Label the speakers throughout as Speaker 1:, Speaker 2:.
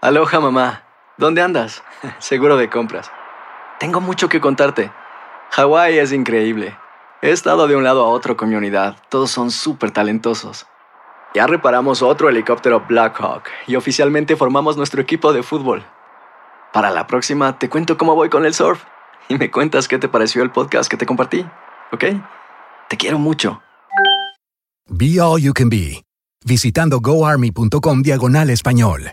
Speaker 1: Aloha mamá. ¿Dónde andas? Seguro de compras. Tengo mucho que contarte. Hawái es increíble. He estado de un lado a otro con mi unidad. Todos son súper talentosos. Ya reparamos otro helicóptero Blackhawk y oficialmente formamos nuestro equipo de fútbol. Para la próxima te cuento cómo voy con el surf y me cuentas qué te pareció el podcast que te compartí, ¿ok? Te quiero mucho.
Speaker 2: Be All You Can Be, visitando goarmy.com diagonal español.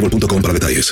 Speaker 3: para detalles.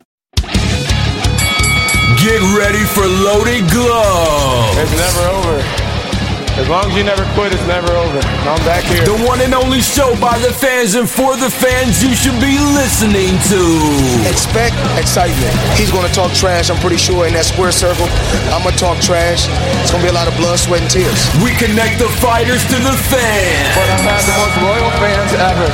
Speaker 4: Get ready for Loaded Glove.
Speaker 5: It's never over. As long as you never quit, it's never over. I'm back here.
Speaker 4: The one and only show by the fans and for the fans you should be listening to.
Speaker 6: Expect excitement. He's going to talk trash, I'm pretty sure, in that square circle. I'm going to talk trash. It's going to be a lot of blood, sweat, and tears.
Speaker 4: We connect the fighters to the fans.
Speaker 5: But I've had the most loyal fans ever.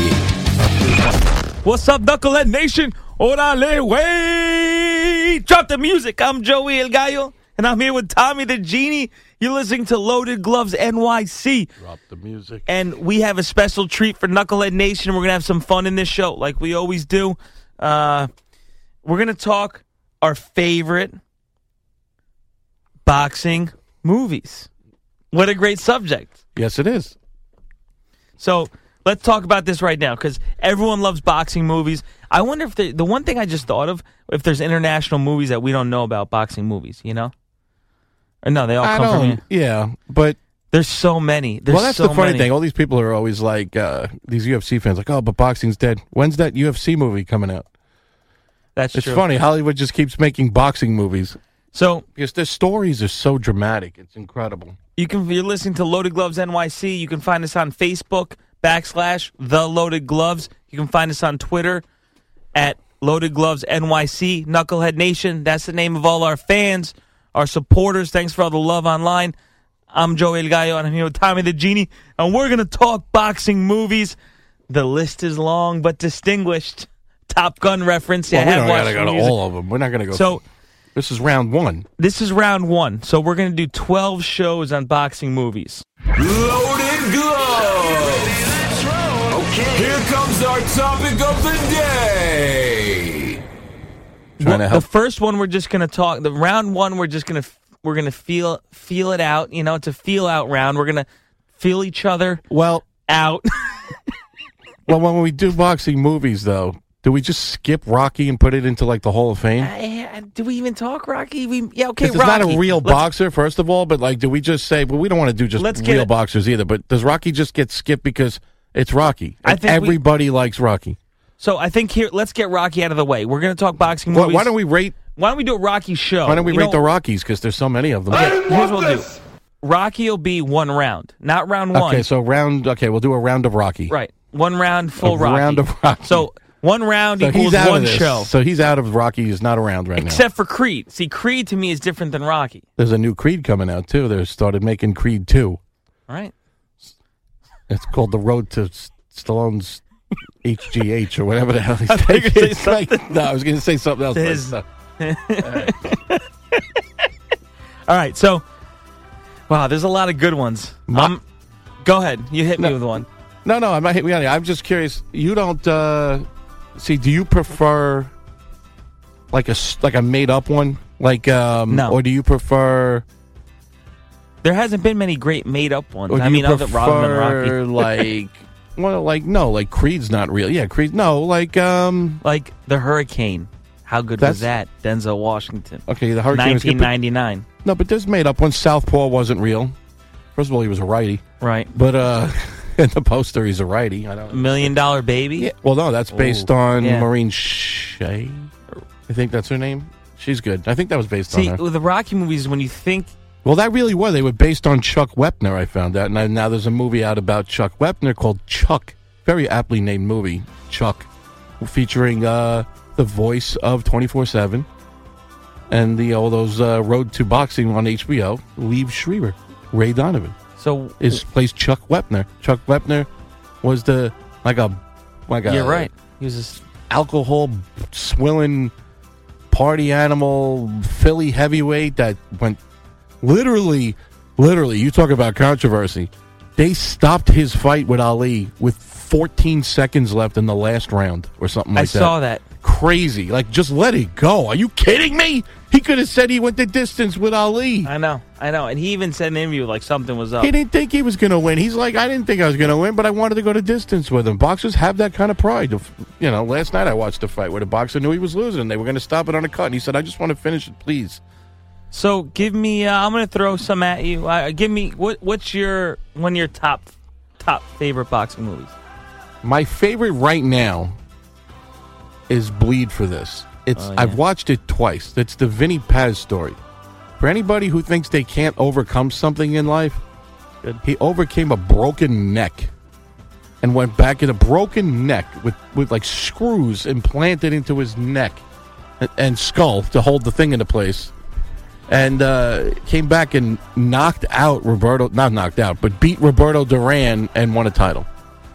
Speaker 7: What's up, Knucklehead Nation? Orale, wait! Drop the music. I'm Joey El Gallo, and I'm here with Tommy the Genie. You're listening to Loaded Gloves NYC. Drop the music. And we have a special treat for Knucklehead Nation. We're going to have some fun in this show, like we always do. Uh, we're going to talk our favorite boxing movies. What a great subject.
Speaker 8: Yes, it is.
Speaker 7: So let's talk about this right now because everyone loves boxing movies. I wonder if the the one thing I just thought of if there's international movies that we don't know about boxing movies. You know, or no, they all
Speaker 8: I
Speaker 7: come from.
Speaker 8: don't.
Speaker 7: here.
Speaker 8: Yeah, but
Speaker 7: There's so many. There's
Speaker 8: well, that's
Speaker 7: so
Speaker 8: the funny
Speaker 7: many.
Speaker 8: thing. All these people are always like uh, these UFC fans, like, oh, but boxing's dead. When's that UFC movie coming out?
Speaker 7: That's
Speaker 8: It's
Speaker 7: true.
Speaker 8: funny. Hollywood just keeps making boxing movies
Speaker 7: So
Speaker 8: because their stories are so dramatic. It's incredible.
Speaker 7: you can you're listening to Loaded Gloves NYC. You can find us on Facebook backslash the Loaded Gloves. You can find us on Twitter at
Speaker 8: Oh,
Speaker 7: Loaded Gloves NYC, Knucklehead Nation. That's the name of all our fans, our supporters. Thanks for all the love online. I'm Joey El Gallo, and I'm here with Tommy the Genie, and we're going to talk boxing movies. The list is long but distinguished. Top Gun reference. Yeah,
Speaker 8: well,
Speaker 7: I
Speaker 8: we
Speaker 7: have
Speaker 8: don't
Speaker 7: watched
Speaker 8: gotta go
Speaker 7: some
Speaker 8: to
Speaker 7: music.
Speaker 8: all of them. We're not gonna go.
Speaker 7: So
Speaker 8: this is round one.
Speaker 7: this is round one. So we're going to do 12 shows on boxing movies.
Speaker 4: Loaded Glove. Here comes our topic of the day.
Speaker 8: Trying
Speaker 7: Well,
Speaker 8: to help.
Speaker 7: The first one we're just gonna talk. The round one we're just gonna f- we're gonna feel feel it out. You know, it's a feel out round. We're gonna feel each other
Speaker 8: well,
Speaker 7: out.
Speaker 8: well, when we do boxing movies, though, do we just skip Rocky and put it into like the Hall of Fame?
Speaker 7: Eh, eh, Do we even talk Rocky? We yeah okay.
Speaker 8: 'Cause
Speaker 7: Rocky.
Speaker 8: it's not a real
Speaker 7: Let's-
Speaker 8: boxer, first of all, but like, do we just say, well, we don't want to do just
Speaker 7: Let's get
Speaker 8: real
Speaker 7: it-
Speaker 8: boxers either, but does Rocky just get skipped because it's Rocky?
Speaker 7: I
Speaker 8: And
Speaker 7: think we-
Speaker 8: everybody likes Rocky.
Speaker 7: So I think here, let's get Rocky out of the way. We're going to talk boxing
Speaker 8: Why-
Speaker 7: movies.
Speaker 8: why don't we rate?
Speaker 7: Why don't we do a Rocky show?
Speaker 8: Why don't we
Speaker 7: You
Speaker 8: rate
Speaker 7: know-
Speaker 8: the Rockies? Because there's so many of them.
Speaker 7: Here's what we'll do. Rocky will be one round, not round one.
Speaker 8: Okay, so round. Okay, we'll do a round of Rocky.
Speaker 7: right, one round full
Speaker 8: A
Speaker 7: Rocky.
Speaker 8: round of Rocky.
Speaker 7: So one round
Speaker 8: So
Speaker 7: equals
Speaker 8: he's out
Speaker 7: one
Speaker 8: of this.
Speaker 7: show,
Speaker 8: So he's out of Rocky. He's not around right now.
Speaker 7: except for Creed. See, Creed to me is different than Rocky.
Speaker 8: There's a new Creed coming out too. They started making Creed two.
Speaker 7: All right.
Speaker 8: It's called The Road to S- Stallone's HGH or whatever the hell he's
Speaker 7: I thought you were gonna say
Speaker 8: It's like- no, I was going to say something else. but
Speaker 7: His-
Speaker 8: no.
Speaker 7: All right, so wow, there's a lot of good ones. Um, go ahead, you hit me with one.
Speaker 8: No, no, I'm not hitting on you. I'm just curious. You don't uh, see? Do you prefer like a s- like a made up one? Like um,
Speaker 7: No.
Speaker 8: or do you prefer?
Speaker 7: There hasn't been many great made up ones.
Speaker 8: Or do
Speaker 7: I
Speaker 8: you
Speaker 7: mean, other
Speaker 8: prefer
Speaker 7: than Rocky,
Speaker 8: like well, like no, like Creed's not real. Yeah, Creed. No, like um,
Speaker 7: like the Hurricane. How good was that, Denzel Washington?
Speaker 8: okay, the Hurricane. was good, but-
Speaker 7: 1999.
Speaker 8: No, but there's made up ones. Southpaw wasn't real. First of all, he was a righty,
Speaker 7: Right,
Speaker 8: but uh, in the poster, he's a righty. I don't.
Speaker 7: Million Dollar Baby.
Speaker 8: Well, no, that's based
Speaker 7: Ooh,
Speaker 8: on
Speaker 7: yeah.
Speaker 8: Maureen Shea. I think that's her name. She's good. I think that was based
Speaker 7: See,
Speaker 8: on her.
Speaker 7: with the Rocky movies, when you think
Speaker 8: Well, that really were. They were based on Chuck Wepner. I found out, and I, now there's a movie out about Chuck Wepner called Chuck. Very aptly named movie, Chuck, featuring uh, the voice of 24/7 and the all those uh, Road to Boxing on HBO. Liev Schreiber, Ray Donovan
Speaker 7: so,
Speaker 8: is plays Chuck Wepner. Chuck Wepner was the like a like a
Speaker 7: you're right. He was just
Speaker 8: alcohol swilling party animal Philly heavyweight that went literally, literally. You talk about controversy. They stopped his fight with Ali with 14 seconds left in the last round or something
Speaker 7: I
Speaker 8: like that.
Speaker 7: saw that.
Speaker 8: Crazy. Like, just let it go. Are you kidding me? He could have said he went the distance with Ali.
Speaker 7: I know, I know. And he even said in an interview like something was up.
Speaker 8: He didn't think he was going to win. He's like, I didn't think I was going to win, but I wanted to go to distance with him. Boxers have that kind of pride. If- You know, last night I watched a fight where the boxer knew he was losing. They were going to stop it on a cut, and he said, I just want to finish it, please.
Speaker 7: So give me. Uh, I'm going to throw some at you. Uh, give me what? What's your one of your top top favorite boxing movies?
Speaker 8: My favorite right now is Bleed for This. It's
Speaker 7: Oh,
Speaker 8: I've
Speaker 7: yeah.
Speaker 8: watched it twice. That's the Vinny Paz story. For anybody who thinks they can't overcome something in life, he overcame a broken neck and went back in a broken neck with, with like screws implanted into his neck and, and skull to hold the thing into place. And uh, came back and knocked out Roberto, not knocked out, but beat Roberto Duran and won a title.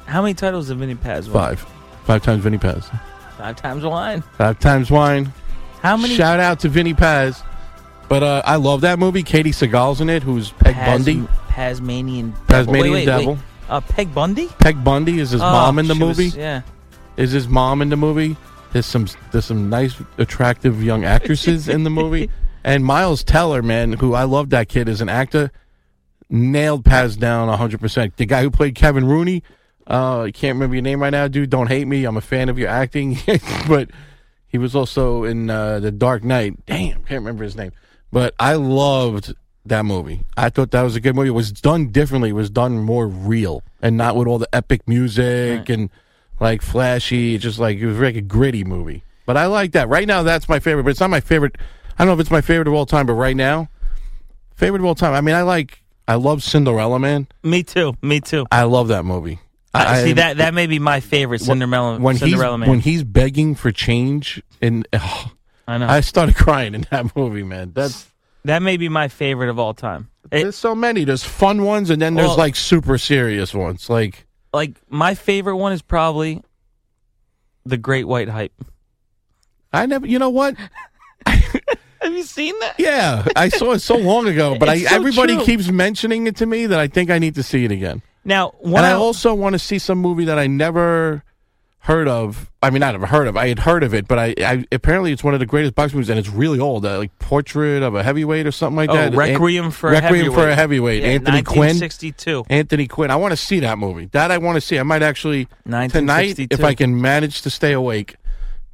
Speaker 7: How many titles did Vinny Paz win?
Speaker 8: Five. Five times Vinny Paz.
Speaker 7: Five times a line.
Speaker 8: Five times wine.
Speaker 7: How many?
Speaker 8: Shout out to Vinny Paz. But uh, I love that movie. Katie Seagal's in it, who's Peg
Speaker 7: Paz-
Speaker 8: Bundy.
Speaker 7: Pazmanian.
Speaker 8: Pazmanian
Speaker 7: wait, wait,
Speaker 8: Devil.
Speaker 7: Wait. Uh, Peg Bundy.
Speaker 8: Peg Bundy is his
Speaker 7: Oh,
Speaker 8: mom in the
Speaker 7: she was-
Speaker 8: movie.
Speaker 7: yeah.
Speaker 8: Is his mom in the movie? There's some there's some nice attractive young actresses in the movie. And Miles Teller, man, who I love that kid as an actor, nailed Paz down 100%. The guy who played Kevin Rooney, uh, I can't remember your name right now, dude. Don't hate me. I'm a fan of your acting. but he was also in uh, The Dark Knight. Damn, can't remember his name. But I loved that movie. I thought that was a good movie. It was done differently. It was done more real and not with all the epic music and like flashy. Just like it was like a gritty movie. But I like that. Right now, that's my favorite. But it's not my favorite. I don't know if it's my favorite of all time. But right now, favorite of all time. I mean, I like. I love Cinderella Man.
Speaker 7: Me too. Me too.
Speaker 8: I love that movie.
Speaker 7: I, see
Speaker 8: I-
Speaker 7: that that may be my favorite Cinderella
Speaker 8: when
Speaker 7: Cinderella
Speaker 8: he's
Speaker 7: man.
Speaker 8: when he's begging for change and oh,
Speaker 7: I know
Speaker 8: I started crying in that movie, man. That's
Speaker 7: that may be my favorite of all time. It-
Speaker 8: there's so many. There's fun ones, and then there's
Speaker 7: Well-
Speaker 8: like super serious ones. Like
Speaker 7: like my favorite one is probably the Great White Hype.
Speaker 8: I never, you know what?
Speaker 7: Have you seen that?
Speaker 8: Yeah, I saw it so long ago, but I,
Speaker 7: It's so
Speaker 8: everybody
Speaker 7: true.
Speaker 8: keeps mentioning it to me that I think I need to see it again.
Speaker 7: Now, one
Speaker 8: and I
Speaker 7: out-
Speaker 8: also want to see some movie that I never heard of. I mean, not ever heard of. I had heard of it, but I, I apparently it's one of the greatest boxing movies, and it's really old. Uh, like Portrait of a Heavyweight or something like
Speaker 7: oh,
Speaker 8: that.
Speaker 7: Requiem for
Speaker 8: Requiem
Speaker 7: a heavyweight.
Speaker 8: for a Heavyweight.
Speaker 7: Yeah,
Speaker 8: Anthony Quinn.
Speaker 7: 1962.
Speaker 8: Anthony Quinn. I want to see that movie. That I want to see. I might actually tonight
Speaker 7: 1962.
Speaker 8: if I can manage to stay awake.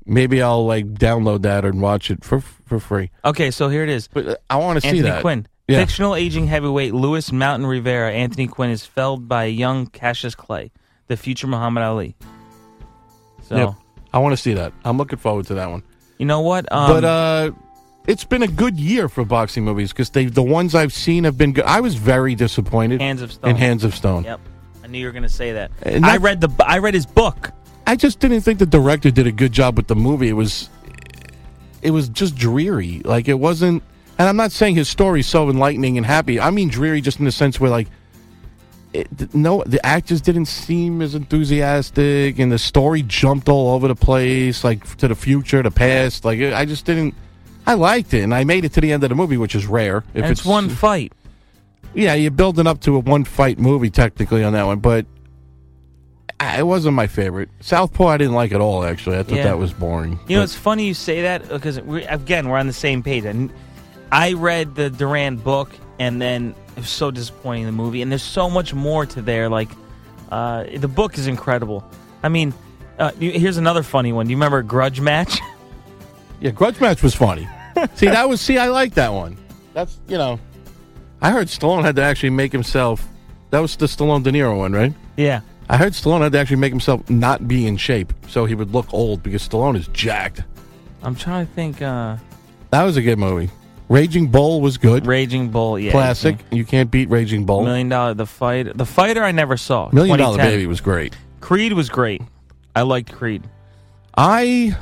Speaker 8: Maybe I'll like download that and watch it for for free.
Speaker 7: Okay, so here it is.
Speaker 8: But uh, I want to see
Speaker 7: Anthony
Speaker 8: that.
Speaker 7: Quinn.
Speaker 8: Yeah.
Speaker 7: Fictional aging heavyweight Louis Mountain Rivera, Anthony Quinn is felled by young Cassius Clay, the future Muhammad Ali. So
Speaker 8: Yep. I want to see that. I'm looking forward to that one.
Speaker 7: You know what?
Speaker 8: but uh, it's been a good year for boxing movies because they the ones I've seen have been good. I was very disappointed.
Speaker 7: Hands of Stone.
Speaker 8: In Hands of Stone.
Speaker 7: Yep. I knew you were going to say that.
Speaker 8: And
Speaker 7: I
Speaker 8: that-
Speaker 7: read the I read his book.
Speaker 8: I just didn't think the director did a good job with the movie. It was, it was just dreary. Like it wasn't. And I'm not saying his story's so enlightening and happy. I mean dreary just in the sense where like, it, no, the actors didn't seem as enthusiastic, and the story jumped all over the place, like to the future, the past. Like I just didn't. I liked it, and I made it to the end of the movie, which is rare. If
Speaker 7: And it's one fight.
Speaker 8: yeah, you're building up to a one fight movie technically on that one, but I- it wasn't my favorite. Southpaw, I didn't like at all. Actually, I thought
Speaker 7: Yeah.
Speaker 8: that was boring.
Speaker 7: You know, it's funny you say that because we again we're on the same page. And I read the Duran book, and then it was so disappointing the movie. And there's so much more to there. Like uh, the book is incredible. I mean, uh, you- here's another funny one. Do you remember Grudge Match?
Speaker 8: Yeah, Grudge Match was funny. see, that was see, I like that one. That's you know, I heard Stallone had to actually make himself. That was the Stallone De Niro one, right?
Speaker 7: Yeah.
Speaker 8: I heard Stallone had to actually make himself not be in shape so he would look old because Stallone is jacked.
Speaker 7: I'm trying to think. Uh,
Speaker 8: That was a good movie. Raging Bull was good.
Speaker 7: Raging Bull, yeah,
Speaker 8: classic. You can't beat Raging Bull.
Speaker 7: Million Dollar the Fight. The Fighter I never saw.
Speaker 8: Million Dollar
Speaker 7: 2010.
Speaker 8: Baby was great.
Speaker 7: Creed was great. I liked Creed.
Speaker 8: I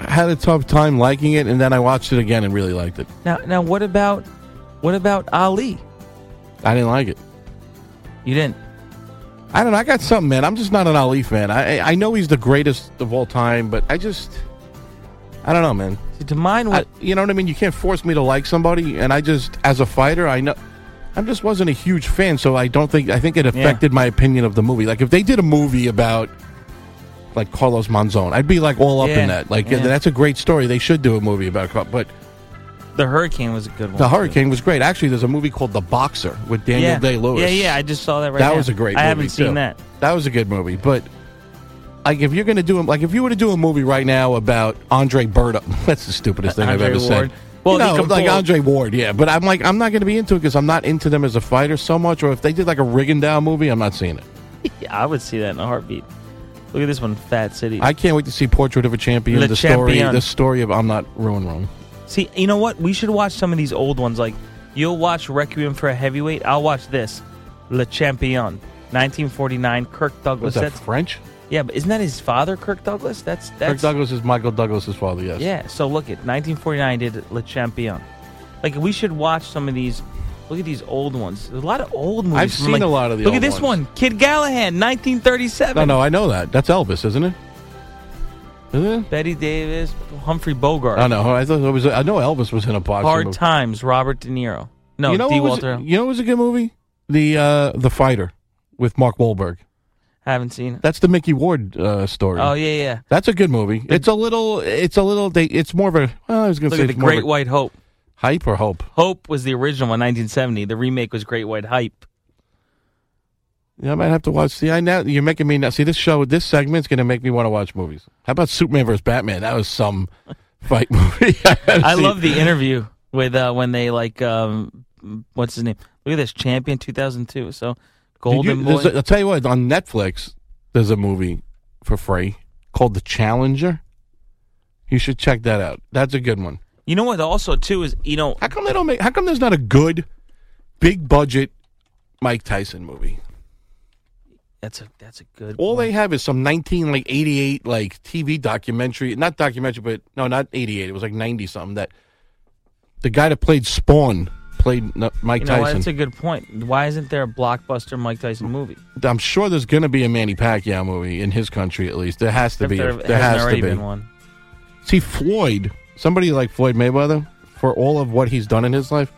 Speaker 8: had a tough time liking it, and then I watched it again and really liked it.
Speaker 7: Now, now what about what about Ali?
Speaker 8: I didn't like it.
Speaker 7: You didn't.
Speaker 8: I don't know. I got something, man. I'm just not an Ali fan. I I I know he's the greatest of all time, but I just I don't know, man.
Speaker 7: To mine,
Speaker 8: what you know what I mean. You can't force me to like somebody, and I just as a fighter, I know. I just wasn't a huge fan, so I don't think I think it affected my opinion of the movie. Like if they did a movie about like Carlos Monzon, I'd be like all up
Speaker 7: Yeah,
Speaker 8: in that. Like
Speaker 7: yeah.
Speaker 8: that's a great story. They should do a movie about, Car- but
Speaker 7: The Hurricane was a good one.
Speaker 8: The
Speaker 7: too.
Speaker 8: Hurricane was great. Actually, there's a movie called The Boxer with Daniel
Speaker 7: yeah.
Speaker 8: Day Lewis.
Speaker 7: Yeah, yeah. I just saw that right.
Speaker 8: that
Speaker 7: now.
Speaker 8: was a great.
Speaker 7: I
Speaker 8: movie,
Speaker 7: haven't seen
Speaker 8: too.
Speaker 7: that.
Speaker 8: That was a good movie, but like if you're gonna do a- like if you were to do a movie right now about Andre Berto, that's the stupidest thing
Speaker 7: Andre
Speaker 8: I've ever
Speaker 7: Ward.
Speaker 8: said.
Speaker 7: Well,
Speaker 8: Well,
Speaker 7: he can
Speaker 8: like
Speaker 7: pull-
Speaker 8: Andre Ward, yeah, but I'm like I'm not gonna be into it because I'm not into them as a fighter so much. Or if they did like a Rigondeaux movie, I'm not seeing it.
Speaker 7: Yeah, I would see that in a heartbeat. Look at this one, Fat City.
Speaker 8: I can't wait to see Portrait of a Champion.
Speaker 7: Le
Speaker 8: the
Speaker 7: Champion.
Speaker 8: story, the story of I'm not ruin wrong.
Speaker 7: see. You know what? We should watch some of these old ones. Like you'll watch Requiem for a Heavyweight. I'll watch this, Le Champion, 1949. Kirk
Speaker 8: Was
Speaker 7: Douglas.
Speaker 8: that
Speaker 7: That's
Speaker 8: French?
Speaker 7: yeah, but isn't that his father, Kirk Douglas? That's that's
Speaker 8: Kirk Douglas is Michael Douglas's father. Yes.
Speaker 7: Yeah, so look at 1949 did Le Champion. Like we should watch some of these. Look at these old ones. There's a lot of old movies.
Speaker 8: I've
Speaker 7: from,
Speaker 8: seen
Speaker 7: like-
Speaker 8: a lot of the
Speaker 7: Look at
Speaker 8: old
Speaker 7: this
Speaker 8: ones.
Speaker 7: one, Kid Gallahan, 1937.
Speaker 8: No, no, I know that. That's Elvis, isn't it? Is it?
Speaker 7: Betty Davis, Humphrey Bogart.
Speaker 8: I know. I thought it was. I know Elvis was in a boxing
Speaker 7: Hard
Speaker 8: movie.
Speaker 7: Times, Robert De Niro. No,
Speaker 8: you know
Speaker 7: D.
Speaker 8: what was-
Speaker 7: Walter.
Speaker 8: you know, it was a good movie. The uh, the fighter with Mark Wahlberg.
Speaker 7: I haven't seen it.
Speaker 8: That's the Mickey Ward uh, story.
Speaker 7: Oh yeah, yeah.
Speaker 8: That's a good movie. It's a little. It's a little. They, it's more of a. Well, I was going to
Speaker 7: Look
Speaker 8: say
Speaker 7: at the
Speaker 8: it's more of
Speaker 7: Great
Speaker 8: a
Speaker 7: White Hope.
Speaker 8: hype or hope.
Speaker 7: Hope was the original one, 1970. The remake was Great White Hype.
Speaker 8: Yeah, I might have to watch. See, I now you're making me now. See, this show, this segment's going to make me want to watch movies. How about Superman versus Batman? That was some fight movie. haven't
Speaker 7: I
Speaker 8: seen.
Speaker 7: love the interview with uh, when they like um, what's his name? Look at this, Champion 2002. So
Speaker 8: Did you-
Speaker 7: Golden
Speaker 8: there's
Speaker 7: Boy.
Speaker 8: a- I'll tell you what. On Netflix, there's a movie for free called The Challenger. You should check that out. That's a good one.
Speaker 7: You know what? Also, too is you know
Speaker 8: How come they don't make? How come there's not a good, big budget Mike Tyson movie?
Speaker 7: that's a that's a good.
Speaker 8: All they have is some nineteen like eighty eight like TV documentary, not documentary, but no, not eighty eight. It was like ninety something. That the guy that played Spawn played no, Mike
Speaker 7: you know what?
Speaker 8: Tyson.
Speaker 7: That's a good point. Why isn't there a blockbuster Mike Tyson movie?
Speaker 8: I'm sure there's going to be a Manny Pacquiao movie in his country at least. There has to
Speaker 7: If
Speaker 8: be.
Speaker 7: there
Speaker 8: There,
Speaker 7: hasn't
Speaker 8: has to
Speaker 7: already
Speaker 8: be.
Speaker 7: been one.
Speaker 8: See, Floyd, somebody like Floyd Mayweather, for all of what he's done in his life,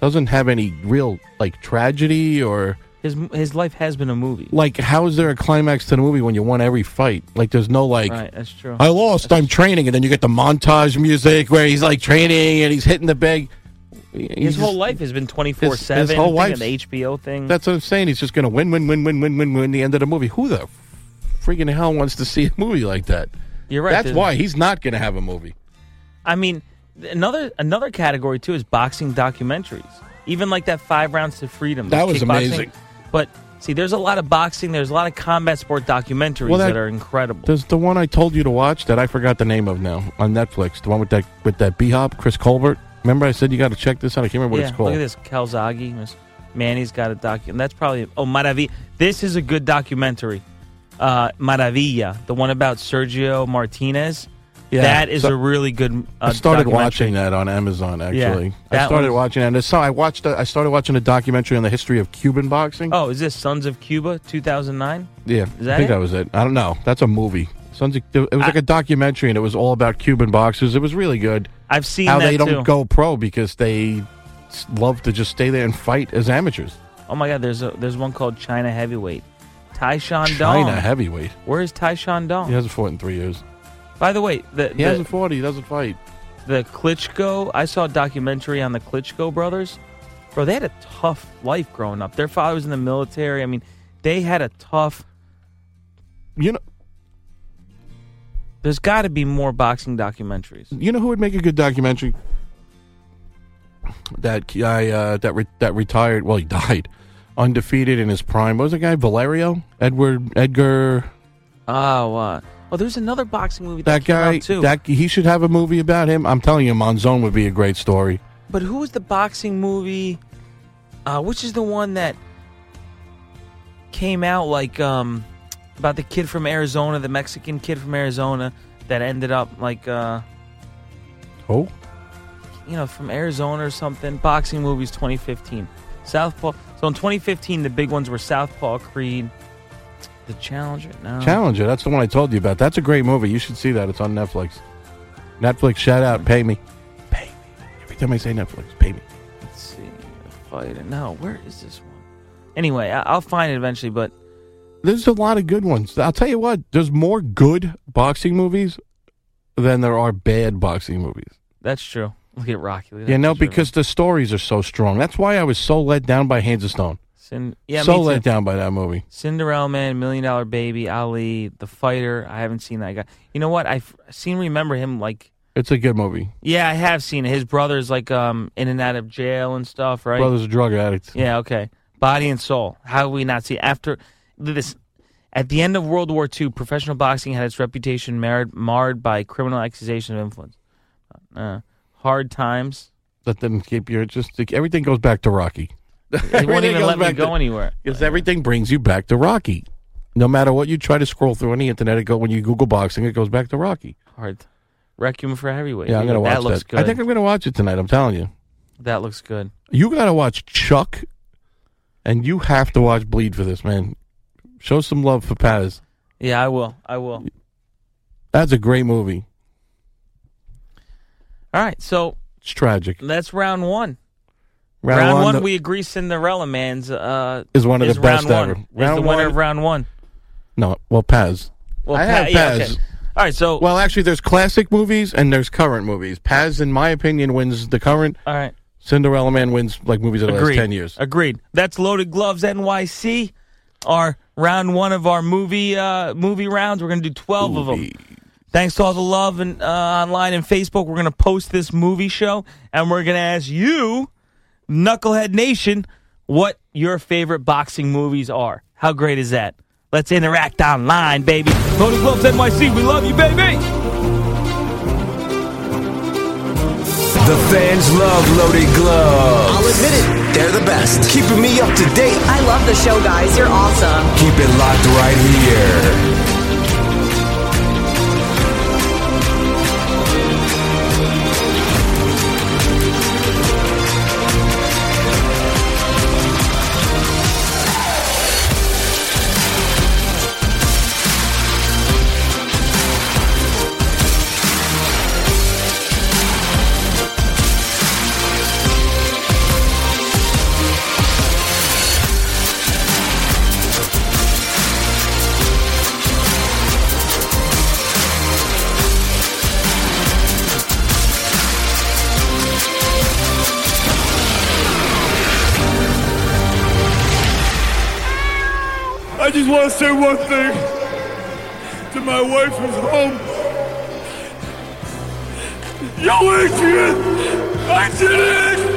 Speaker 8: doesn't have any real like tragedy or
Speaker 7: His his life has been a movie.
Speaker 8: like. How is there a climax to the movie when you won every fight? Like, there's no like.
Speaker 7: right, that's true.
Speaker 8: I lost. I'm training, and then you get the montage music where he's like training and he's hitting the bag.
Speaker 7: his whole life has been twenty four seven.
Speaker 8: his whole
Speaker 7: life,
Speaker 8: life's-
Speaker 7: the HBO thing.
Speaker 8: That's what I'm saying. He's just going to win, win, win, win, win, win, win. The end of the movie. Who the freaking hell wants to see a movie like that?
Speaker 7: You're right,
Speaker 8: That's
Speaker 7: dude.
Speaker 8: why he's not going to have a movie.
Speaker 7: I mean, th- another another category too is boxing documentaries. Even like that five rounds to freedom. the
Speaker 8: That was
Speaker 7: kickboxing.
Speaker 8: amazing.
Speaker 7: But See, there's a lot of boxing. There's a lot of combat sport documentaries
Speaker 8: Well,
Speaker 7: that,
Speaker 8: that-
Speaker 7: are incredible.
Speaker 8: There's the one I told you to watch that I forgot the name of now on Netflix. The one with that with that B Hop, Chris Colbert. Remember I said you got to check this out. I can't remember what
Speaker 7: yeah,
Speaker 8: it's called.
Speaker 7: look at this. Calzaghe. Miss- Manny's got a document. That's probably. Oh, Maravilla. This is a good documentary. Uh, Maravilla, the one about Sergio Martinez.
Speaker 8: Yeah,
Speaker 7: that is
Speaker 8: so-
Speaker 7: a really good. Uh,
Speaker 8: I started
Speaker 7: documentary.
Speaker 8: watching that on Amazon. Actually, I
Speaker 7: that
Speaker 8: started
Speaker 7: one's-
Speaker 8: watching that. And so I watched. A, I started watching a documentary on the history of Cuban boxing.
Speaker 7: Oh, is this Sons of Cuba 2009?
Speaker 8: Yeah,
Speaker 7: Is that
Speaker 8: I think
Speaker 7: it?
Speaker 8: that was it. I don't know. That's a movie. Sounds like, it was like a documentary, and it was all about Cuban boxers. It was really good.
Speaker 7: I've seen
Speaker 8: how
Speaker 7: that
Speaker 8: they
Speaker 7: too.
Speaker 8: don't go pro because they s- love to just stay there and fight as amateurs.
Speaker 7: Oh my God, there's a there's one called China Heavyweight. Taishan Dong.
Speaker 8: China heavyweight.
Speaker 7: Where is Taishan Dong?
Speaker 8: He hasn't fought in three years.
Speaker 7: By the way, the,
Speaker 8: He
Speaker 7: the-
Speaker 8: hasn't fought. He doesn't fight.
Speaker 7: the Klitschko. I saw a documentary on the Klitschko brothers. Bro, they had a tough life growing up. Their father was in the military. I mean, they had a tough.
Speaker 8: You know,
Speaker 7: There's got to be more boxing documentaries.
Speaker 8: You know who would make a good documentary? That guy uh, that re- that retired. Well, he died undefeated in his prime. What was the guy Valerio Edward Edgar?
Speaker 7: Oh, uh, oh, there's another boxing movie that,
Speaker 8: That guy.
Speaker 7: came out too.
Speaker 8: That he should have a movie about him. I'm telling you, Monzon would be a great story.
Speaker 7: but who was the boxing movie? Uh, which is the one that came out like um, about the kid from Arizona, the Mexican kid from Arizona that ended up like. Uh,
Speaker 8: Oh,
Speaker 7: you know, from Arizona or something. Boxing movies 2015. Southpaw. So in 2015, the big ones were Southpaw, Creed, The Challenger. No.
Speaker 8: Uh-huh. Challenger. That's the one I told you about. That's a great movie. You should see that. It's on Netflix. Netflix, shout out, pay me. Pay me. Every time I say Netflix, pay me.
Speaker 7: Let's see. Fighter. No, where is this one? Anyway, I- I'll find it eventually, but
Speaker 8: There's a lot of good ones. I'll tell you what, there's more good boxing movies than there are bad boxing movies.
Speaker 7: that's true. Look at Rocky. Look at
Speaker 8: You
Speaker 7: that
Speaker 8: know,
Speaker 7: picture of
Speaker 8: because the stories are so strong. That's why I was so let down by Hands of Stone.
Speaker 7: Cin- yeah,
Speaker 8: so
Speaker 7: me too.
Speaker 8: let down by that movie.
Speaker 7: Cinderella Man, Million Dollar Baby, Ali, The Fighter. I haven't seen that guy. You know what? I've seen, remember him like,
Speaker 8: It's a good movie.
Speaker 7: yeah, I have seen it. His brother's like um in and out of jail and stuff, right?
Speaker 8: Brothers are drug addicts.
Speaker 7: Yeah, okay. Body and soul. How do we not see after this? At the end of World War II, professional boxing had its reputation marred, marred by criminal accusations of influence. Uh, hard times.
Speaker 8: That didn't keep your interest. Everything goes back to Rocky.
Speaker 7: They won't
Speaker 8: Everything
Speaker 7: even
Speaker 8: goes
Speaker 7: let me
Speaker 8: back
Speaker 7: go
Speaker 8: to-
Speaker 7: anywhere.
Speaker 8: Because everything brings you back to Rocky. No matter what you try to scroll through on the internet, it go when you Google boxing, it goes back to Rocky.
Speaker 7: Hard. Requiem for heavyweight.
Speaker 8: Yeah, I'm gonna watch
Speaker 7: That looks good.
Speaker 8: I think I'm gonna watch it tonight. I'm telling you,
Speaker 7: that looks good.
Speaker 8: you gotta watch Chuck, and you have to watch Bleed for this man. Show some love for Paz.
Speaker 7: Yeah, I will. I will.
Speaker 8: That's a great movie.
Speaker 7: All right. So
Speaker 8: It's tragic.
Speaker 7: that's round one.
Speaker 8: Round one, the-
Speaker 7: we agree Cinderella Man's uh,
Speaker 8: Is one of the best
Speaker 7: round one.
Speaker 8: ever.
Speaker 7: Is
Speaker 8: Round
Speaker 7: the winner
Speaker 8: one-
Speaker 7: of round one.
Speaker 8: No, well, Paz.
Speaker 7: Well,
Speaker 8: I
Speaker 7: Pa-
Speaker 8: have
Speaker 7: yeah,
Speaker 8: Paz.
Speaker 7: okay. All right. So
Speaker 8: Well, actually, there's classic movies and there's current movies. Paz, in my opinion, wins the current.
Speaker 7: all right.
Speaker 8: Cinderella Man wins like movies of the
Speaker 7: Agreed.
Speaker 8: last ten years.
Speaker 7: Agreed. That's Loaded Gloves NYC. Our round one of our movie uh, movie rounds. We're gonna do twelve of them. Thanks to all the love and uh, online and Facebook. We're gonna post this movie show, and we're gonna ask you, Knucklehead Nation, what your favorite boxing movies are. How great is that? Let's interact online, baby. Loaded Gloves NYC. We love you, baby.
Speaker 4: The fans love loaded gloves.
Speaker 9: I'll admit it, they're the best. Keeping me up to date. I love the show, guys. You're awesome.
Speaker 4: Keep it locked right here.
Speaker 10: I just want to say one thing to my wife at home. Yo, Adrian! I did it!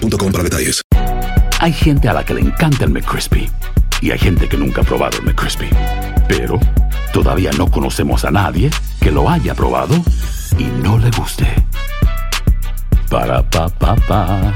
Speaker 3: para detalles.
Speaker 11: Hay gente a la que le encanta el McCrispy y hay gente que nunca ha probado el McCrispy. Pero todavía no conocemos a nadie que lo haya probado y no le guste. Para pa pa pa.